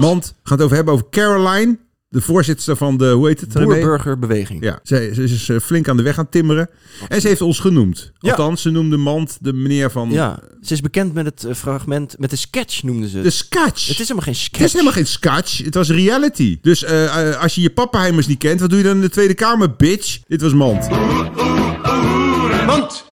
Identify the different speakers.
Speaker 1: Mand. Gaat het over hebben over Caroline. De voorzitter van de, hoe heet het? René?
Speaker 2: Boerburgerbeweging.
Speaker 1: Ja, ze, ze is eh, flink aan de weg gaan timmeren. En ze heeft ons genoemd.
Speaker 2: Ja.
Speaker 1: Althans, ze noemde Mand de meneer van
Speaker 2: Ja, ze is bekend met het eh, fragment, met de sketch noemden ze het.
Speaker 1: de sketch.
Speaker 2: het is helemaal geen sketch.
Speaker 1: Het is helemaal geen sketch, het was reality. Dus eh, eh, als je je pappenheimers niet kent, wat doe je dan in de Tweede Kamer, bitch? Dit was Mand.